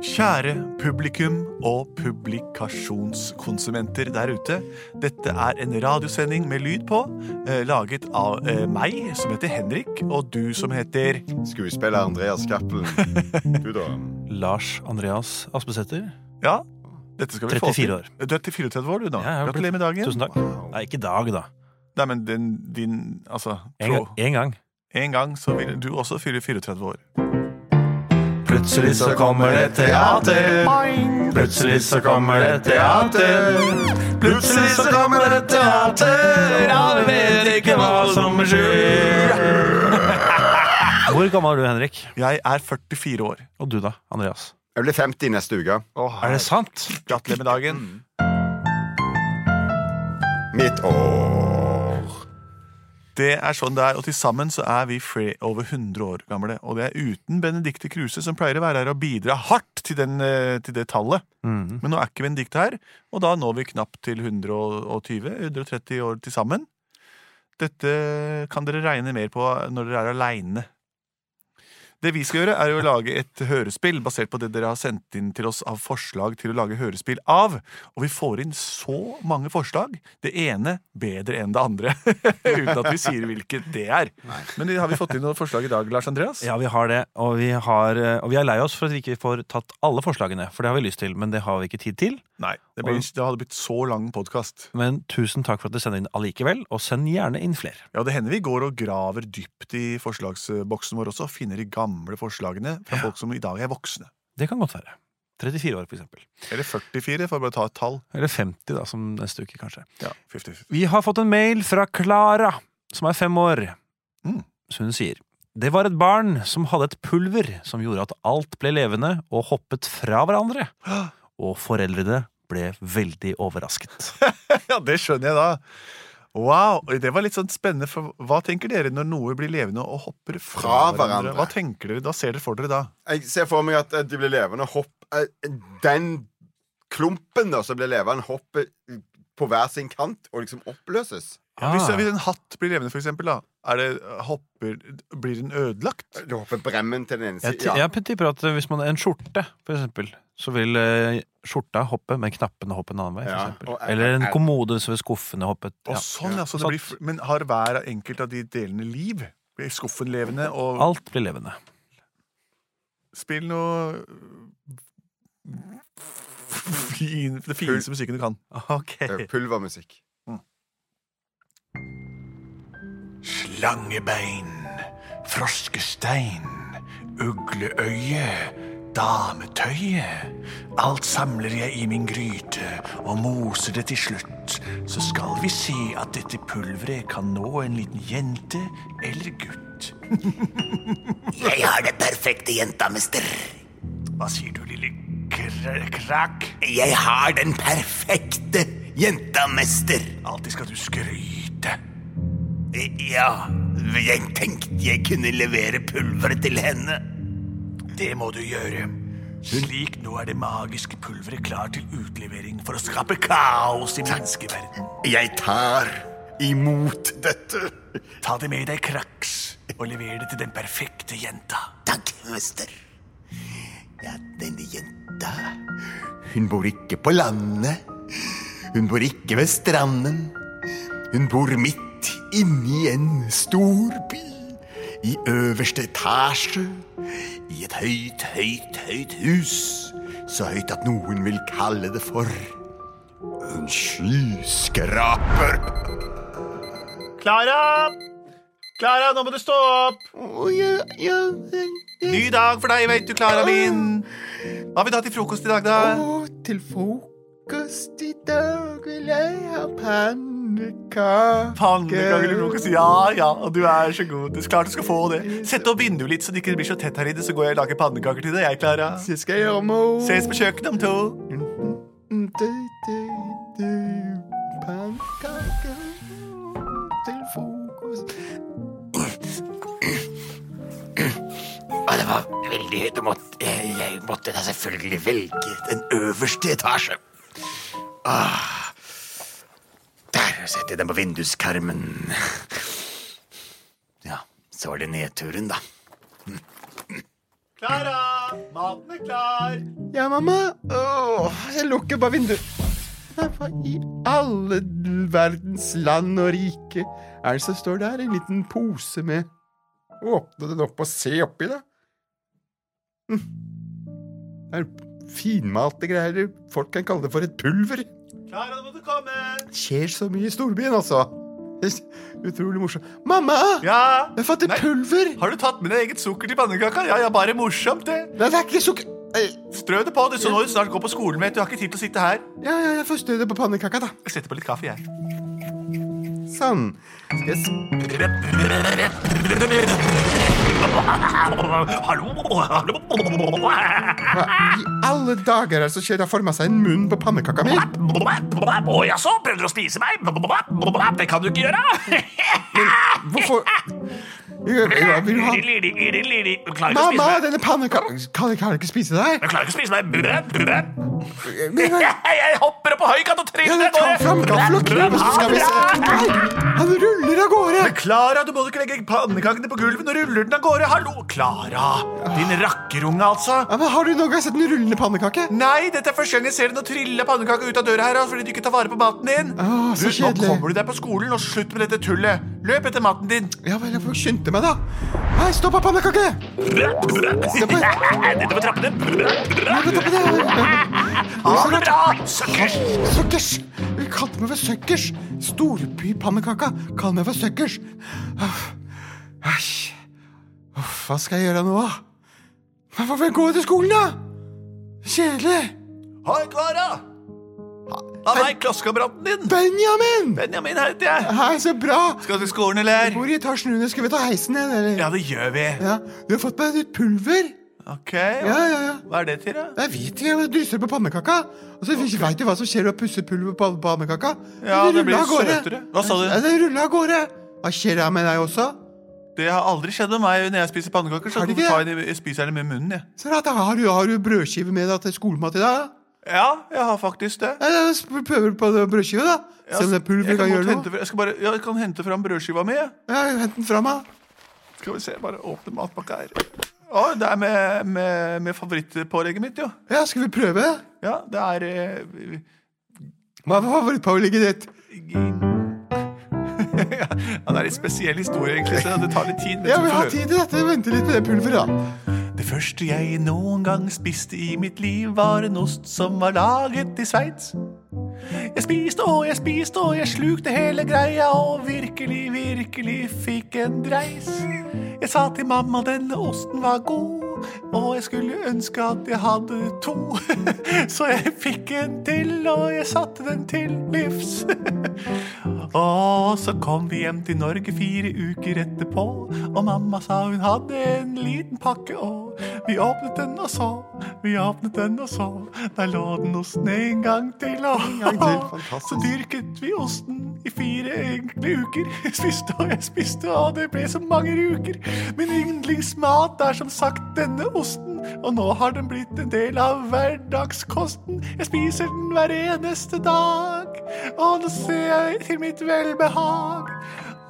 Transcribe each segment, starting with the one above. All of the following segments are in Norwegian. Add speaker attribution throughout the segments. Speaker 1: Kjære publikum og publikasjonskonsumenter der ute. Dette er en radiosending med lyd på, eh, laget av eh, meg, som heter Henrik, og du som heter
Speaker 2: Skuespiller Andreas Cappelen. Du, da?
Speaker 3: Lars Andreas Aspesæter.
Speaker 1: Ja, dette skal vi få til.
Speaker 3: 34 år.
Speaker 1: Du er til 34 år, du, da.
Speaker 3: Ja, jeg har blitt-
Speaker 1: Gratulerer med dagen.
Speaker 3: Tusen takk.
Speaker 2: Wow.
Speaker 3: Nei, ikke i dag, da.
Speaker 1: Nei, men din, din altså
Speaker 3: En,
Speaker 1: tro.
Speaker 3: gang- en gang.
Speaker 1: En gang så vil du også fylle 34 år.
Speaker 3: Plutselig
Speaker 2: så kommer det teater.
Speaker 3: Plutselig så kommer det teater.
Speaker 2: Plutselig så kommer det teater.
Speaker 3: Alle vet ikke hva som skjer. Hvor gammel er du, Henrik?
Speaker 1: Jeg er 44 år.
Speaker 3: Og du, da, Andreas?
Speaker 2: Jeg blir 50 neste uke. Mm.
Speaker 3: Er det sant?
Speaker 1: Gratulerer med dagen.
Speaker 2: Mitt år.
Speaker 1: Det er sånn det er, og til sammen så er vi flere, over 100 år gamle. Og det er uten Benedicte Kruse, som pleier å være her og bidra hardt til, den, eh, til det tallet.
Speaker 3: Mhm.
Speaker 1: Men nå er ikke Benedicte her, og da når vi knapt til 120-130 år til sammen. Dette kan dere regne mer på når dere er aleine. Det vi skal gjøre, er jo å lage et hørespill basert på det dere har sendt inn til oss av forslag til å lage hørespill av. Og vi får inn så mange forslag. Det ene bedre enn det andre. Uten at vi sier hvilket det er. Men har vi fått inn noen forslag i dag, Lars Andreas?
Speaker 3: Ja, vi har det, og vi, har, eh, og vi er lei oss for at vi ikke får tatt alle forslagene. For det har vi lyst til, men det har vi ikke tid til.
Speaker 1: Nei. Det, blir, det hadde blitt så lang podkast.
Speaker 3: Men tusen takk for at dere sender inn allikevel, og send gjerne inn flere.
Speaker 1: Ja, det hender vi går og graver dypt i forslagsboksen vår også, og finner de gamle forslagene fra folk som i dag er voksne.
Speaker 3: Det kan godt være. 34 år, for eksempel.
Speaker 1: Eller 44, for å bare ta et tall.
Speaker 3: Eller 50, da, som neste uke, kanskje.
Speaker 1: Ja, 50-50.
Speaker 3: Vi har fått en mail fra Klara, som er fem år.
Speaker 1: Mm.
Speaker 3: Så hun sier Det var et barn som hadde et pulver som gjorde at alt ble levende og hoppet fra hverandre. Og foreldrene ble veldig overrasket.
Speaker 1: Ja, det skjønner jeg da. Wow, og Det var litt sånn spennende. for Hva tenker dere når noe blir levende og hopper fra,
Speaker 2: Fra
Speaker 1: hverandre?
Speaker 2: hverandre.
Speaker 1: Hva tenker dere da? Ser dere for dere da?
Speaker 2: Jeg ser for meg at eh, de blir levende hopp eh, Den klumpen da som blir levende, hopper på hver sin kant og liksom oppløses.
Speaker 3: Ah.
Speaker 1: Hvis, hvis en hatt blir levende, for eksempel, da, er det, hopper, blir den ødelagt?
Speaker 2: Du hopper bremmen til den ene
Speaker 3: Ah, Jeg, ti-
Speaker 2: siden. Ja.
Speaker 3: jeg tipper at hvis man en skjorte, for eksempel, så vil eh, skjorta hoppe, men knappene hoppe en annen vei.
Speaker 2: Ja,
Speaker 3: For eksempel.
Speaker 2: og er-
Speaker 3: Eller en
Speaker 2: er-
Speaker 3: kommode så vil skuffene hoppe.
Speaker 1: Og
Speaker 3: Ja.
Speaker 1: sånn, ja, så det
Speaker 3: Sant.
Speaker 1: blir, f- Men har hver enkelt av de delene liv? Blir skuffen levende? Og
Speaker 3: Alt blir levende.
Speaker 1: Spill noe eh, fin, Det fineste musikken du kan.
Speaker 2: Eh, Pulvermusikk.
Speaker 1: Slangebein, froskestein, ugleøye, dametøye. Alt samler jeg i min gryte og moser det til slutt. Så skal vi se at dette pulveret kan nå en liten jente eller gutt.
Speaker 4: Jeg har det perfekte jenta, mister.
Speaker 1: Hva sier du, lille kr krakk?
Speaker 4: Jeg har den perfekte jenta, mester.
Speaker 1: Alltid skal du skryte.
Speaker 4: Ja, jeg tenkte jeg kunne levere pulveret til henne.
Speaker 1: Det må du gjøre. Slik nå er det magiske pulveret klar til utlevering for å skape kaos i menneskeverden.
Speaker 4: Jeg tar imot dette.
Speaker 1: Ta det med deg, Kraks, og lever det til den perfekte jenta.
Speaker 4: Takk, mester. Ja, denne jenta Hun bor ikke på landet. Hun bor ikke ved stranden. Hun bor midt inni en stor by. I øverste etasje. I et høyt, høyt, høyt hus. Så høyt at noen vil kalle det for en skyskraper.
Speaker 1: Klara! Klara, nå må du stå opp!
Speaker 4: Å, ja, ja, ja.
Speaker 1: Ny dag for deg, veit du, Klara min. Hva har vi da til frokost i dag, da?
Speaker 4: Og til frokost i dag vil jeg ha pannekaker.
Speaker 1: Pannekaker til frokost. Ja, ja, og du er så god. Det er klart du skal få det. Sett opp vinduet litt, så det ikke blir så tett her inne, så går jeg og lager pannekaker til deg, jeg, Klara.
Speaker 4: Så skal jeg gjøre meg
Speaker 1: Ses på kjøkkenet om to.
Speaker 4: Pannekaker til frokost. Og det var veldig høyt. og måtte- Jeg jeg måtte da selvfølgelig velge den øverste etasje. Ah. Der setter jeg den på vinduskarmen. Ja, så var det nedturen, da.
Speaker 1: Klara! Maten er klar!
Speaker 5: Ja, mamma. Åh, jeg lukker bare vinduet. Nei, hva i alle verdens land og rike er det som står der? En liten pose med Åpne den opp og se oppi, da. Hm. Det er finmalte greier. Folk kan kalle det for et pulver.
Speaker 1: Klara, nå må du komme!
Speaker 5: Skjer så mye i storbyen, altså. Det er Utrolig morsomt. Mamma!
Speaker 1: Ja?
Speaker 5: Jeg har fått et
Speaker 1: Nei.
Speaker 5: pulver!
Speaker 1: Har du tatt med deg eget sukker til pannekaka? Ja, ja, bare morsomt, det.
Speaker 5: Nei, det er ikke sukker... Nei.
Speaker 1: Strø det på, du, så når du snart går på skolen, vet du. Jeg har ikke tid til å sitte her.
Speaker 5: Ja, ja, jeg får stø det på pannekaka, da.
Speaker 1: Jeg setter på litt kaffe, jeg.
Speaker 5: Sånn. Skal jeg s-
Speaker 1: Hallo?
Speaker 5: Hva i alle dager er det som skjer? Det har forma seg en munn på pannekaka mi.
Speaker 1: Å jaså, prøvde du å spise meg? Det kan du ikke gjøre!
Speaker 5: Hvorfor Jeg- jeg vil ha
Speaker 1: Du klarer ikke å spise
Speaker 5: Mamma,
Speaker 1: meg.
Speaker 5: denne pannekaka Kan jeg kan jeg ikke spise deg?
Speaker 1: Du klarer ikke å spise meg.
Speaker 5: Men- men-
Speaker 1: Jeg hopper opp på høykant og
Speaker 5: Ja,
Speaker 1: tryner
Speaker 5: men Ta fram gaffel og kniv, så skal vi se. Nei, han ruller av gårde.
Speaker 1: Klara, du må ikke legge pannekakene på gulvet når du ruller den av gårde. Hallo, Klara. Din rakkerunge, altså.
Speaker 5: Ja, men Har du noen gang sett en rullende pannekake?
Speaker 1: Nei, dette er første gang jeg ser den å trille pannekaka ut av døra her, altså, fordi du ikke tar vare på maten din.
Speaker 5: Å, så
Speaker 1: du, nå
Speaker 5: kjedelig.
Speaker 1: kommer du deg på skolen, og slutt med dette tullet. Løp etter maten din.
Speaker 5: Ja vel, jeg får skynde meg, da. Hei, stopp av pannekake! Stopp av-
Speaker 1: Nede på trappene.
Speaker 5: Nei, stopp av det.
Speaker 1: Ha det bra, suckers.
Speaker 5: Søkkers! Vi kalte meg for Søkkers. Storbypannekaka. Kall meg for Søkkers. Uff. Æsj. Uff, hva skal jeg gjøre nå, da? Men Hvorfor jeg gå til skolen, da? Kjedelig.
Speaker 1: Hei, Klara. Han er klassekameraten din.
Speaker 5: Benjamin!
Speaker 1: Benjamin heter jeg.
Speaker 5: Hei, så bra!
Speaker 1: Skal du til skolen, eller?
Speaker 5: Hvor i etasjen under skal vi ta heisen ned, eller?
Speaker 1: Ja, det gjør vi.
Speaker 5: Ja, Du har fått meg litt pulver.
Speaker 1: Ok.
Speaker 5: Ja, ja, ja.
Speaker 1: Hva er det til, da?
Speaker 5: Jeg vet ikke, jeg drysser på pannekaka. Altså, Og så okay. veit du hva som skjer når du pusser pulver på pannekaka. Altså,
Speaker 1: Ja, det blir
Speaker 5: ruller av gårde.
Speaker 1: søtere. Hva sa du?
Speaker 5: Ja, det ruller av gårde. Hva skjer da med deg også?
Speaker 1: Det har aldri skjedd med meg når jeg spiser pannekaker. Så
Speaker 5: Har det
Speaker 1: hvorfor tar
Speaker 5: ikke?
Speaker 1: jeg det- jeg spiser jeg det med munnen, jeg?
Speaker 5: Så rart, da har du, har du brødskive med deg til skolemat i dag?
Speaker 1: Ja, jeg har faktisk det.
Speaker 5: Ja, da sp- prøver du på det brødskive, da. Se om det
Speaker 1: jeg kan
Speaker 5: pulveret kan
Speaker 1: godt
Speaker 5: gjøre
Speaker 1: hente,
Speaker 5: noe.
Speaker 1: jeg, skal bare, ja, jeg kan hente fram brødskiva mi. jeg.
Speaker 5: Ja, Hent den fra meg.
Speaker 1: Skal vi se, bare åpne matpakka her. Å, det er med, med, med favorittpålegget mitt, jo.
Speaker 5: Ja, skal vi prøve?
Speaker 1: Ja, det er eh,
Speaker 5: Hva var favorittpålegget ditt?
Speaker 1: ja, Det er litt spesiell historie, egentlig, så det tar litt tid. men
Speaker 5: Ja,
Speaker 1: så
Speaker 5: vi
Speaker 1: får
Speaker 5: har
Speaker 1: vi-
Speaker 5: tid til dette. Vente litt med det pulveret, da.
Speaker 1: Det første jeg noen gang spiste i mitt liv, var en ost som var laget i Sveits. Jeg spiste og jeg spiste og jeg slukte hele greia og virkelig, virkelig fikk en dreis. Jeg sa til mamma denne osten var god, og jeg skulle ønske at jeg hadde to. Så jeg fikk en til, og jeg satte den til livs. Og så kom vi hjem til Norge fire uker etterpå, og mamma sa hun hadde en liten pakke, og vi åpnet den og så, vi åpnet den og så, der lå den osten en gang til, og
Speaker 5: gang til, fantastisk.
Speaker 1: så dyrket vi osten i fire enkle uker. Jeg spiste og jeg spiste, og det ble så mange uker. Min yndlingsmat er som sagt denne osten, og nå har den blitt en del av hverdagskosten. Jeg spiser den hver eneste dag, og nå ser jeg til mitt velbehag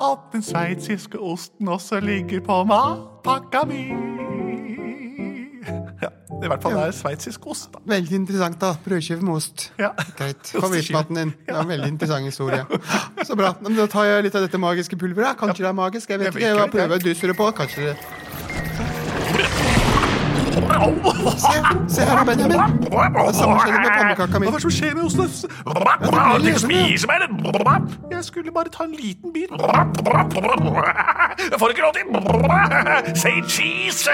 Speaker 1: at den sveitsiske osten også ligger på matpakka mi. Ja, i hvert fall det er sveitsisk ost, da.
Speaker 5: Veldig interessant, da. Brødskive med ost.
Speaker 1: Ja.
Speaker 5: Greit.
Speaker 1: Osteskive.
Speaker 5: Favorittmaten din. Det var en veldig interessant historie. Så bra. Men da tar jeg litt av dette magiske pulveret. Kanskje det er magisk? Jeg vet
Speaker 1: Jeg
Speaker 5: ikke.
Speaker 1: vet
Speaker 5: Jeg
Speaker 1: ikke.
Speaker 5: prøver å dysse det på. Kanskje det
Speaker 1: Au!
Speaker 5: Se, se her, Benjamin. Det er samme skjedde med pannekaka mi.
Speaker 1: Hva er det som skjer med osten?
Speaker 5: Ja,
Speaker 1: Du
Speaker 5: det er
Speaker 1: spiser meg, den! Jeg skulle bare ta en liten bit. Jeg får ikke lov til Say cheese!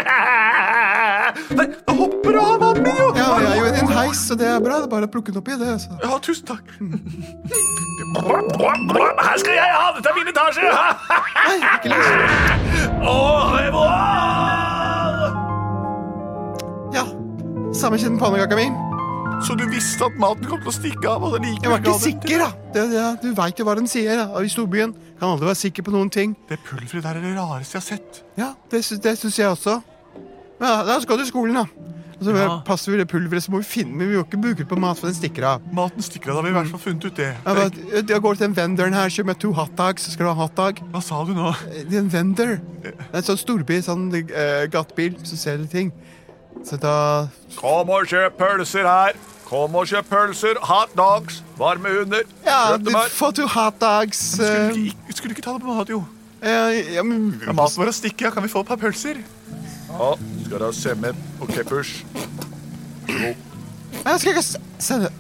Speaker 1: Nei, det hopper av mannen min, jo!
Speaker 5: Ja, jeg er jo i en heis, så det er bra. Det er bare å plukke den oppi. Det, altså.
Speaker 1: Ja, tusen takk. Her skal jeg ha! Dette er min etasje!
Speaker 5: Nei, ikke lys.
Speaker 1: Åh, jeg må av!
Speaker 5: Ja. Samme skjedde med pannekaka mi.
Speaker 1: Så du visste at maten kom til å stikke av? Og det
Speaker 5: Jeg
Speaker 1: likevel
Speaker 5: var ikke
Speaker 1: ga den til-
Speaker 5: sikker, da. Det, det, du veit jo hva den sier da. i storbyen. Kan aldri være sikker på noen ting.
Speaker 1: Det pulveret der er det rareste jeg har sett.
Speaker 5: Ja, det, sy- det syns jeg også. Men ja, la oss gå til skolen, da. Og så
Speaker 1: Ja.
Speaker 5: passer vi det pulveret, så må vi finne Men vi må ikke bruke det på mat, for den stikker av.
Speaker 1: Maten stikker av, da har vi i hvert
Speaker 5: Mm.
Speaker 1: fall funnet ut det.
Speaker 5: Jeg, bare, jeg- jeg går til den venderen her, kjøper meg to hotdogs, så skal du ha hotdog.
Speaker 1: Hva sa du nå?
Speaker 5: eh, Det er en vendor. Det er en sånn storby, sånn eh, gatebil som selger ting. Så da
Speaker 1: Kom og kjøp pølser her! Kom og kjøp pølser, hot dogs, varme hunder.
Speaker 5: Ja,
Speaker 1: kjøp
Speaker 5: du
Speaker 1: dem her.
Speaker 5: får to hotdogs.
Speaker 1: Skulle
Speaker 5: eh,
Speaker 1: du ikke, skulle du ikke ta det på mat, jo?
Speaker 5: Ja, ja, men
Speaker 1: Det er maten vår å stikke, ja. Kan vi få et par pølser? Ja, skal du ha semmer og keppers?
Speaker 5: Jeg skal ikke s- sende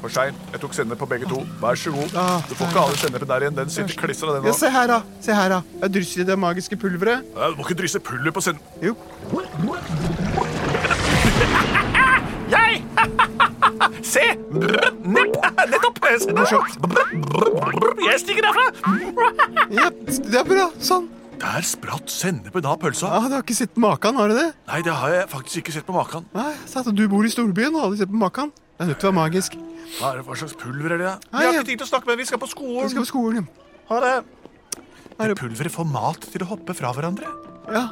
Speaker 1: For sein. Jeg tok sennep på begge to. Vær så god.
Speaker 5: Ah,
Speaker 1: Du får ikke ha den sennepen der igjen. Den sitter klistra, den
Speaker 5: Ja,
Speaker 1: òg.
Speaker 5: se her, da. Se her, da. Jeg drysser i det magiske pulveret.
Speaker 1: Du Eh, må ikke drysse pulver på sennep.
Speaker 5: Jo.
Speaker 1: Jeg! Se! Nepp! Nettopp! Jeg stikker derfra!
Speaker 5: Ja, det er bra. Sånn.
Speaker 1: Der spratt sennepen av pølsa.
Speaker 5: Ja, du har ikke sett maken, har du det?
Speaker 1: Nei, det har jeg faktisk ikke sett på maken.
Speaker 5: Nei, sant, og Du bor i storbyen og har aldri sett på maken. Det er nødt til å være magisk.
Speaker 1: Hva, er det, hva slags pulver er det? da?
Speaker 5: Nei,
Speaker 1: Vi har
Speaker 5: jeg-
Speaker 1: ikke tid til å snakke med dem. Vi skal på
Speaker 5: Du skal
Speaker 1: skolen.
Speaker 5: på skolen.
Speaker 1: Ha det. Det
Speaker 5: Er det-
Speaker 1: pulveret får mat til å hoppe fra hverandre.
Speaker 5: Ja, ja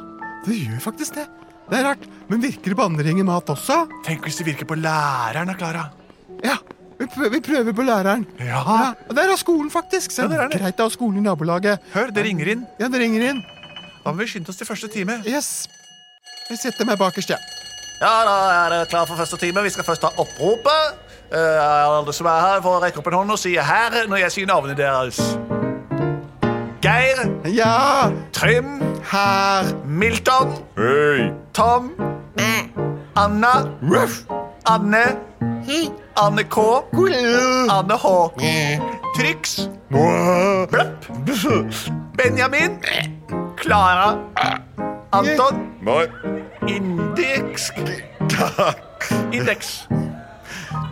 Speaker 5: det gjør faktisk det. Det er rart. Men virker bandringen mat også?
Speaker 1: Tenk hvis det virker på læreren, da, Klara.
Speaker 5: Ja. Vi prøver, vi prøver på læreren. Ja,
Speaker 1: Ja.
Speaker 5: og Der er skolen, faktisk. Så
Speaker 1: Ja,
Speaker 5: det
Speaker 1: der er
Speaker 5: er
Speaker 1: det.
Speaker 5: greit å ha skolen i nabolaget.
Speaker 1: Hør, det ringer inn.
Speaker 5: Ja, det ringer inn.
Speaker 1: Da må vi skynde oss til første time.
Speaker 5: Yes. Jeg setter meg bakerst, jeg.
Speaker 1: Ja, da er det klar for første time. Vi skal først ha oppropet. Eh, alle som er her, får rekke opp en hånd og si her når jeg sier navnet deres. Geir,
Speaker 5: Ja. ja!
Speaker 1: Trym,
Speaker 5: Her.
Speaker 1: Milton,
Speaker 2: Hei!
Speaker 1: Tom, Anna, Anne, Anne K, Anne H, Trix, Bløpp, Benjamin, Klara, Anton,
Speaker 2: Nei.
Speaker 1: Indeks Indeks.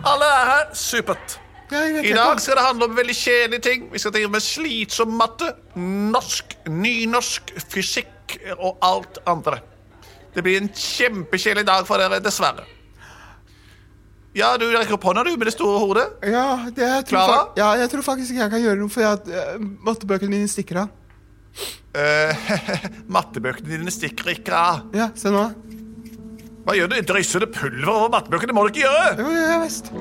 Speaker 1: Alle er her. Supert.
Speaker 5: Ja, jeg vet
Speaker 1: I
Speaker 5: ikke.
Speaker 1: dag skal det handle om veldig kjedelige ting. Vi skal drive med slitsom matte, norsk, nynorsk, fysikk og alt andre. Det blir en kjempekjedelig dag for dere, dessverre. Ja, du rekker opp hånda, du, med det store hodet.
Speaker 5: Ja, det, jeg, tror
Speaker 1: Klara?
Speaker 5: fak- ja, jeg tror faktisk ikke jeg kan gjøre noe, for jeg, eh, mattebøkene mine stikker av.
Speaker 1: Eh, mattebøkene dine stikker ikke av.
Speaker 5: Ja, se nå.
Speaker 1: Hva gjør du? Drysser det pulver over mattebøkene? Det må du ikke gjøre!
Speaker 5: Jo, ja, ja, visst.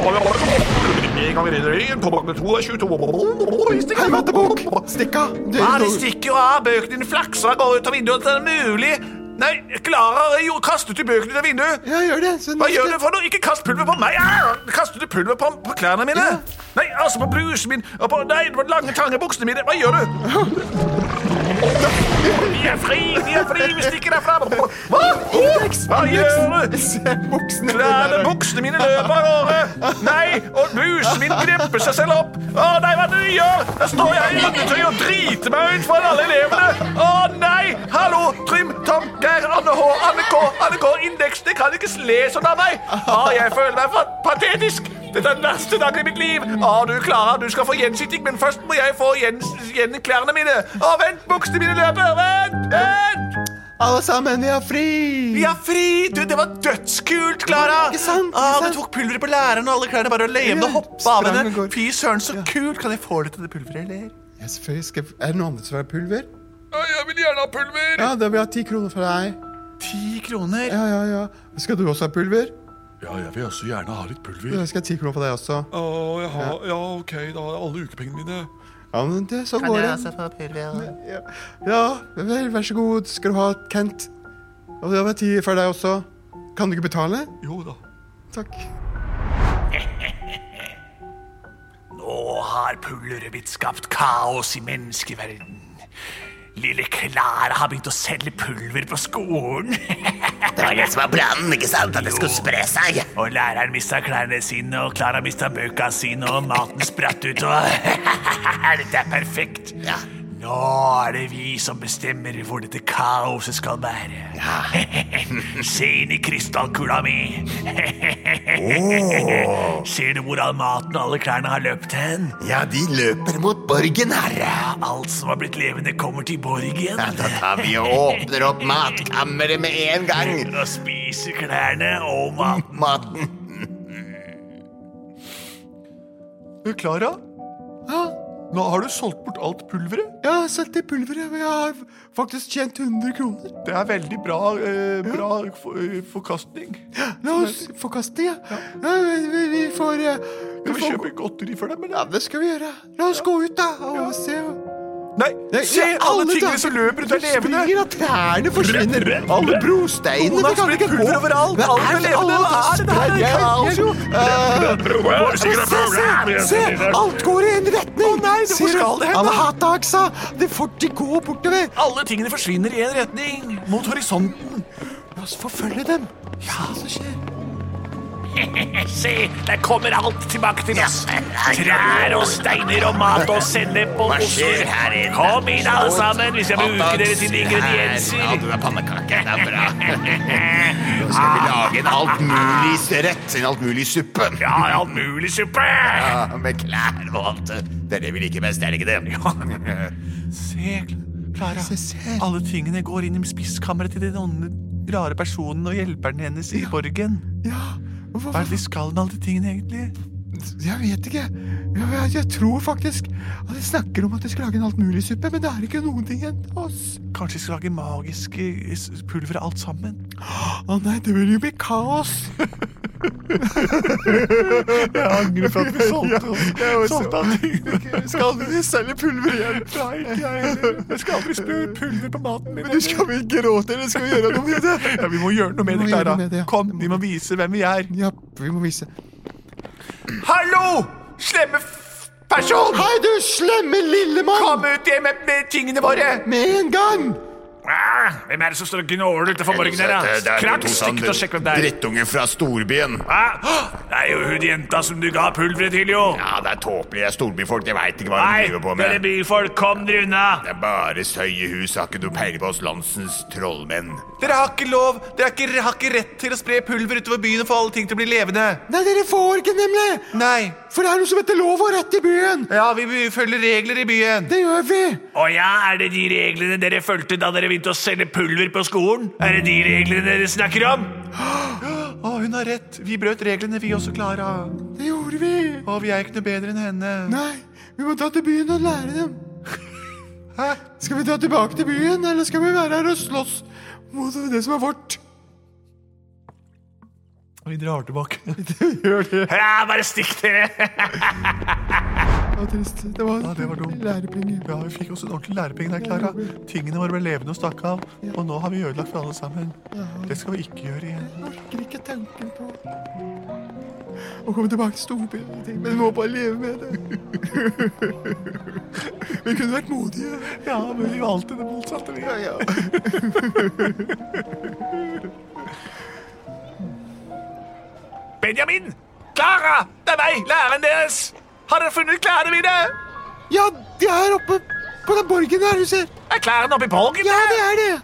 Speaker 1: En gang i revyen, på bakgrunn to er 22
Speaker 5: Hei, mattebok! Stikk av! Du-
Speaker 1: Ja, det
Speaker 5: du-
Speaker 1: stikker jo av. Bøkene dine flakser og går ut av vinduet. Det er mulig. Nei, Klara har jo kastet ut bøkene ut av vinduet.
Speaker 5: Ja, gjør det. Så nå
Speaker 1: Hva gjør du
Speaker 5: skal-
Speaker 1: for noe? Ikke kast pulver på meg! Au! Kastet du pulver på, på klærne mine?
Speaker 5: Ja.
Speaker 1: Nei, altså på blusen min og på Nei, på lange, trange buksene mine. Hva gjør du? Vi er fri, vi er fri, vi stikker derfra. Hva? Hva gjør du?
Speaker 5: Se buksene
Speaker 1: Klærne,
Speaker 5: mine.
Speaker 1: buksene mine løper av gårde. Nei, og blusen min grepper seg selv opp. Å nei, hva er det du gjør? Der står jeg i undertøy og driter meg ut foran alle elevene. Å nei! Hallo, Trym, Tom, Geir, Anne H, Anne K, Anne K, Indeks. Det kan ikke le sånn av meg. Å, jeg føler meg fa- patetisk. Dette er den verste dagen i mitt liv. Å, du, Klara, du skal få gjensitting, men først må jeg få gjens, gjen klærne mine. Å, vent, buksene mine løper. Vent, vent.
Speaker 5: Alle sammen, vi har fri!
Speaker 1: Vi har fri! Du, det var dødskult, Klara!
Speaker 5: Ikke sant, ikke
Speaker 1: Ah, du
Speaker 5: sant?
Speaker 1: tok pulveret på læreren og alle klærne bare levende
Speaker 5: Ja,
Speaker 1: og hoppa av
Speaker 5: sprang og
Speaker 1: henne.
Speaker 5: går.
Speaker 1: Fy søren, så kult! Kan jeg få litt av det pulveret, eller?
Speaker 5: Ja, selvfølgelig skal Er det noe annet som er pulver?
Speaker 1: Jeg vil gjerne ha pulver!
Speaker 5: Ja, da vil jeg ha ti kroner fra deg.
Speaker 1: Ti kroner?
Speaker 5: Ja, ja, ja. Skal du også ha pulver?
Speaker 1: Ja, jeg vil også gjerne ha litt pulver.
Speaker 5: Da skal jeg ha ti kroner fra deg også.
Speaker 1: Å, jeg har, ja, ok, da har jeg alle ukepengene mine.
Speaker 5: Ja, men det, sånn går det.
Speaker 1: få pulver?
Speaker 5: Ja, ja vel, vær så god. Skal du ha Kent? Og da vil jeg ha ti fra deg også. Kan du ikke betale?
Speaker 1: Jo da.
Speaker 5: Takk.
Speaker 1: Nå har pulveret mitt skapt kaos i menneskeverden. Lille Klara har begynt å selge pulver på skolen.
Speaker 4: Det var det som var planen, ikke sant? At det skulle spre seg.
Speaker 1: Og læreren mista klærne sine, og Klara mista bøkene sine, og maten spratt ut, og Dette er perfekt.
Speaker 4: Ja.
Speaker 1: Nå er det vi som bestemmer hvor dette kaoset skal bære. Se inn i krystallkula mi. Ser du hvordan maten og alle klærne har løpt hen?
Speaker 4: Ja, de løper mot borgen, herre.
Speaker 1: Alt som har blitt levende, kommer til borgen.
Speaker 4: Ja, da tar vi og åpner opp matkammeret med en gang.
Speaker 1: Og spiser klærne og maten.
Speaker 4: Maten.
Speaker 1: Klara,
Speaker 5: Ja,
Speaker 1: nå har du solgt bort alt pulveret.
Speaker 5: jeg har solgt det pulveret, og jeg har faktisk tjent 100 kroner.
Speaker 1: Det er veldig bra, eh, forkastning.
Speaker 5: La oss forkaste det. Ja. Ja, vi, vi, vi får eh, vi får-
Speaker 1: godteri for dem,
Speaker 5: Ja, det skal vi gjøre. La oss gå ut, da, og se
Speaker 1: Nei,
Speaker 5: Nei,
Speaker 1: se!
Speaker 5: i alle
Speaker 1: Alle tigre
Speaker 5: dager!
Speaker 1: som løper rundt er
Speaker 5: Du
Speaker 1: levende!
Speaker 5: springer, og trærne forsvinner.
Speaker 4: Alle brosteinene
Speaker 1: Jonas
Speaker 4: kan
Speaker 1: blir
Speaker 4: ikke gå
Speaker 1: pulver overalt.
Speaker 4: Hva
Speaker 1: Alle
Speaker 4: er det
Speaker 1: levende, hva er det her?
Speaker 4: spredd
Speaker 1: Jeg
Speaker 4: kaos? Eh, Se, se, se! Alt går i en retning! Å nei,
Speaker 1: hvor skal det hen, da?
Speaker 4: Alahataksa! Det får de gå bortover!
Speaker 1: Alle tingene forsvinner i en retning, mot horisonten.
Speaker 4: La
Speaker 1: Altså,
Speaker 4: oss forfølge dem. Ja, så skjer.
Speaker 6: Se, der kommer alt tilbake til oss. Trær og steiner og mat og sennep og oster. Kom inn, alle sammen, hvis jeg bruker dere til
Speaker 4: Ja,
Speaker 6: ingredienser.
Speaker 4: du er pannekake. Det er bra. Nå skal vi lage en alt mulig rett. En alt mulig suppe.
Speaker 6: Ja, all mulig suppe!
Speaker 4: Ja, Med klær og alt. Det er det vi liker best, er det ikke det?
Speaker 1: Se, Klara.
Speaker 4: Se, se.
Speaker 1: Alle tingene går inn i spiskammeret til den onde, rare personen og hjelperen hennes i borgen.
Speaker 5: Ja, hva,
Speaker 1: Hva
Speaker 5: hva,
Speaker 1: er det de skal med alle de tingene, egentlig?
Speaker 5: jeg vet ikke. Jeg, jeg, jeg tror faktisk at de snakker om at de skal lage en altmuligsuppe, men det er ikke noen ting igjen til oss.
Speaker 1: Kanskje de skal lage magiske s- pulver alt sammen?
Speaker 5: Å nei, det vil jo bli kaos.
Speaker 1: Jeg angrer på at vi solgte oss. Solgte alle tingene.
Speaker 5: Skal vi selge pulver igjen?
Speaker 1: Nei, ikke jeg heller. Jeg skal aldri spille pulver på maten min.
Speaker 5: Men skal vi gråte, eller skal vi gjøre noe med det?
Speaker 1: Ja, vi må gjøre noe med det,
Speaker 5: Vi må gjøre noe med det,
Speaker 1: Klara.
Speaker 5: ja.
Speaker 1: Kom, vi må vise hvem vi er.
Speaker 5: Ja, vi må vise.
Speaker 1: Hallo! Slemme f- person!
Speaker 5: Hei, du slemme lille mann!
Speaker 1: Kom ut hjem med, med tingene våre!
Speaker 5: Med en gang!
Speaker 6: Ah, Hvem er det som står og gnåler utenfor borgen her,
Speaker 4: Det er
Speaker 6: da? Krakk,
Speaker 4: to
Speaker 6: stikk ut og sjekk hvem det er.
Speaker 4: Drittunge fra storbyen.
Speaker 6: Ah, Det er jo hun jenta som du ga pulveret til, jo.
Speaker 4: Ja, det er tåpelige storbyfolk. Jeg veit ikke hva de
Speaker 6: Nei,
Speaker 4: driver på
Speaker 6: dere
Speaker 4: med.
Speaker 6: byfolk, kom dere unna.
Speaker 4: Det er bare støy i hus. Har ikke du peiling på oss landsens trollmenn?
Speaker 1: Dere har ikke lov, dere har ikke, har ikke rett til å spre pulver utover byen og få alle ting til å bli levende.
Speaker 5: Nei, dere får ikke, nemlig!
Speaker 1: Nei.
Speaker 5: For det er noe som heter lov og rett i byen!
Speaker 1: Ja, vi vi følger regler i byen.
Speaker 5: Det gjør vi!
Speaker 6: Å ja, er det de reglene dere fulgte da dere begynte å selge pulver på skolen? Er det de reglene dere snakker om?
Speaker 1: Å, hun har rett. Vi brøt reglene, vi også, Klara.
Speaker 5: Det gjorde vi!
Speaker 1: Å, vi er ikke noe bedre enn henne.
Speaker 5: Nei, vi må dra til byen og lære dem.
Speaker 1: Hæ?
Speaker 5: Skal vi dra tilbake til byen, eller skal vi være her og slåss mot det som er vårt?
Speaker 1: Vi drar tilbake.
Speaker 6: Ja, bare stikk dere!
Speaker 5: Det var trist. Det var,
Speaker 1: Ja, det var dumt.
Speaker 5: lærepenger.
Speaker 1: Ja, vi fikk også en ordentlig lærepenge der, Klara. Tingene våre ble levende og stakk av. Og nå har vi ødelagt for alle sammen. Det skal vi ikke gjøre igjen.
Speaker 5: Jeg orker ikke tanken på å komme tilbake til storbyen. og ting, Men vi må bare leve med det. Vi kunne vært modige.
Speaker 1: Ja, men vi valgte det motsatte, vi.
Speaker 5: Ja, ja.
Speaker 6: Benjamin! Klara! Det er meg, læreren deres! Har dere funnet klærne mine?
Speaker 5: ja, de er oppe på den borgen der, du ser.
Speaker 6: Er klærne oppi borgen?
Speaker 5: Ja, det er det.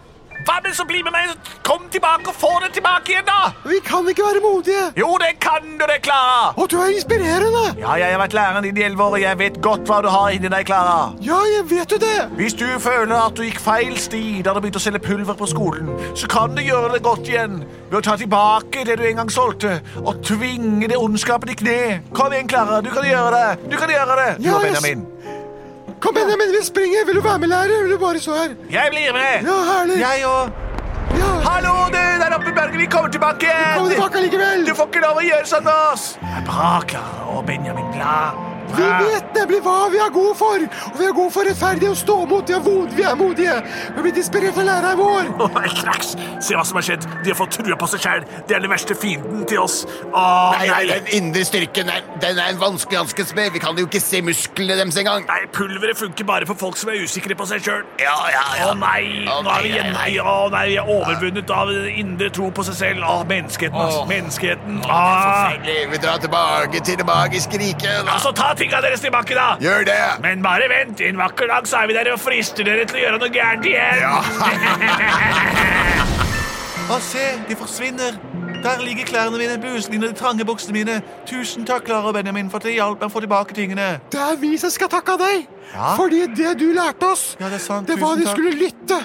Speaker 6: Hva med så bli med meg? Kom tilbake og få det tilbake igjen, da!
Speaker 5: Vi kan ikke være modige.
Speaker 6: Jo, det kan du det, Klara!
Speaker 5: Og du er inspirerende.
Speaker 6: Ja, jeg har vært læreren din i elleve år, og jeg vet godt hva du har inni deg, Klara.
Speaker 5: Ja, jeg vet jo det.
Speaker 6: Hvis du føler at du gikk feil sti da du begynte å selge pulver på skolen, så kan du gjøre det godt igjen ved å ta tilbake det du en gang solgte, og tvinge det ondskapen i kne. Kom igjen, Klara. Du kan gjøre det. Du kan gjøre det. Du
Speaker 5: Ja,
Speaker 6: og
Speaker 5: jeg s-
Speaker 6: Benjamin.
Speaker 5: Kom, Benjamin, vi springer. Vil du være med, lærer? Vil du bare stå her?
Speaker 6: Jeg blir med.
Speaker 5: Ja, herlig.
Speaker 6: Jeg og
Speaker 5: Ja.
Speaker 6: Hallo, du der oppe i berget. Vi kommer tilbake
Speaker 5: Kom tilbake
Speaker 6: igjen.
Speaker 5: allikevel.
Speaker 6: Du får ikke lov å gjøre sånn med oss. Det er Bra, Klara og Benjamin. Bra.
Speaker 5: Vi
Speaker 6: Bra.
Speaker 5: vet nemlig hva vi er gode for. Og vi er gode for rettferdighet og stå mot. Vi er, mod, vi er modige. Vi er blitt inspirert av læreren vår.
Speaker 6: Åh, Kraks! Se hva som har skjedd. De har fått trua på seg sjæl. Det er den verste fienden til oss. Å,
Speaker 4: Nei, nei, den indre styrken er, den er en vanskelig hanske med. Vi kan jo ikke se musklene deres engang.
Speaker 6: Nei, pulveret funker bare for folk som er usikre på seg sjøl.
Speaker 4: Ja, ja,
Speaker 6: Å
Speaker 4: ja.
Speaker 6: nei,
Speaker 4: Å,
Speaker 6: nå er
Speaker 4: nei,
Speaker 6: vi igjen
Speaker 4: nei,
Speaker 6: nei,
Speaker 4: nei.
Speaker 6: å nei, vi er overvunnet av indre tro på seg selv. Å, menneskeheten, altså.
Speaker 4: Åh.
Speaker 6: Menneskeheten. Ah.
Speaker 4: Forferdelig. Vi drar tilbake til det magiske riket. da.
Speaker 6: Altså, ta tinga deres tilbake, da!
Speaker 4: Gjør det!
Speaker 6: Men bare vent, en vakker dag så er vi der og frister dere til å gjøre noe gærent igjen.
Speaker 4: Ja.
Speaker 1: Å, se, de forsvinner. Der ligger klærne mine, blusene mine og de trange buksene mine. Tusen takk, Klara og Benjamin, for at dere hjalp meg å få tilbake tingene.
Speaker 5: Det er vi som skal takke deg,
Speaker 1: Ja.
Speaker 5: fordi det du lærte oss,
Speaker 1: Ja, det er sant.
Speaker 5: det
Speaker 1: Tusen
Speaker 5: var at vi
Speaker 1: takk.
Speaker 5: skulle lytte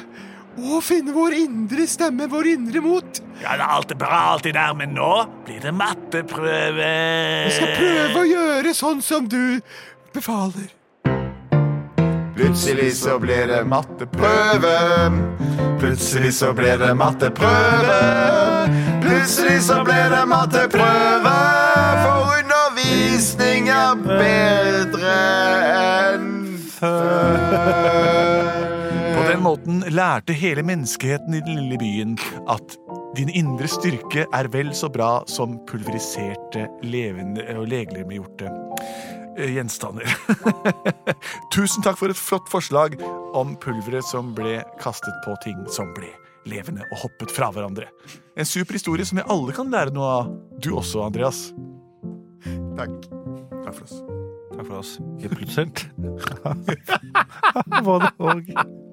Speaker 5: og finne vår indre stemme, vår indre mot.
Speaker 6: Ja, det er alt er bra, alt det der, men nå blir det matteprøve.
Speaker 5: Vi skal
Speaker 1: Eh.
Speaker 5: prøve å gjøre sånn som du befaler.
Speaker 2: Plutselig så ble det matteprøve. Plutselig så ble det matteprøve. Plutselig så ble det matteprøve. For undervisning er bedre enn
Speaker 1: På den måten lærte hele menneskeheten i den lille byen at din indre styrke er vel så bra som pulveriserte, levende og legemliggjorte eh, gjenstander. Tusen takk for et flott forslag om pulveret som ble kastet på ting som ble levende og hoppet fra hverandre. En super historie som vi alle kan lære noe av. Du også, Andreas.
Speaker 2: Takk.
Speaker 1: Takk for oss.
Speaker 3: Takk for oss. Vi er produsert. Både og.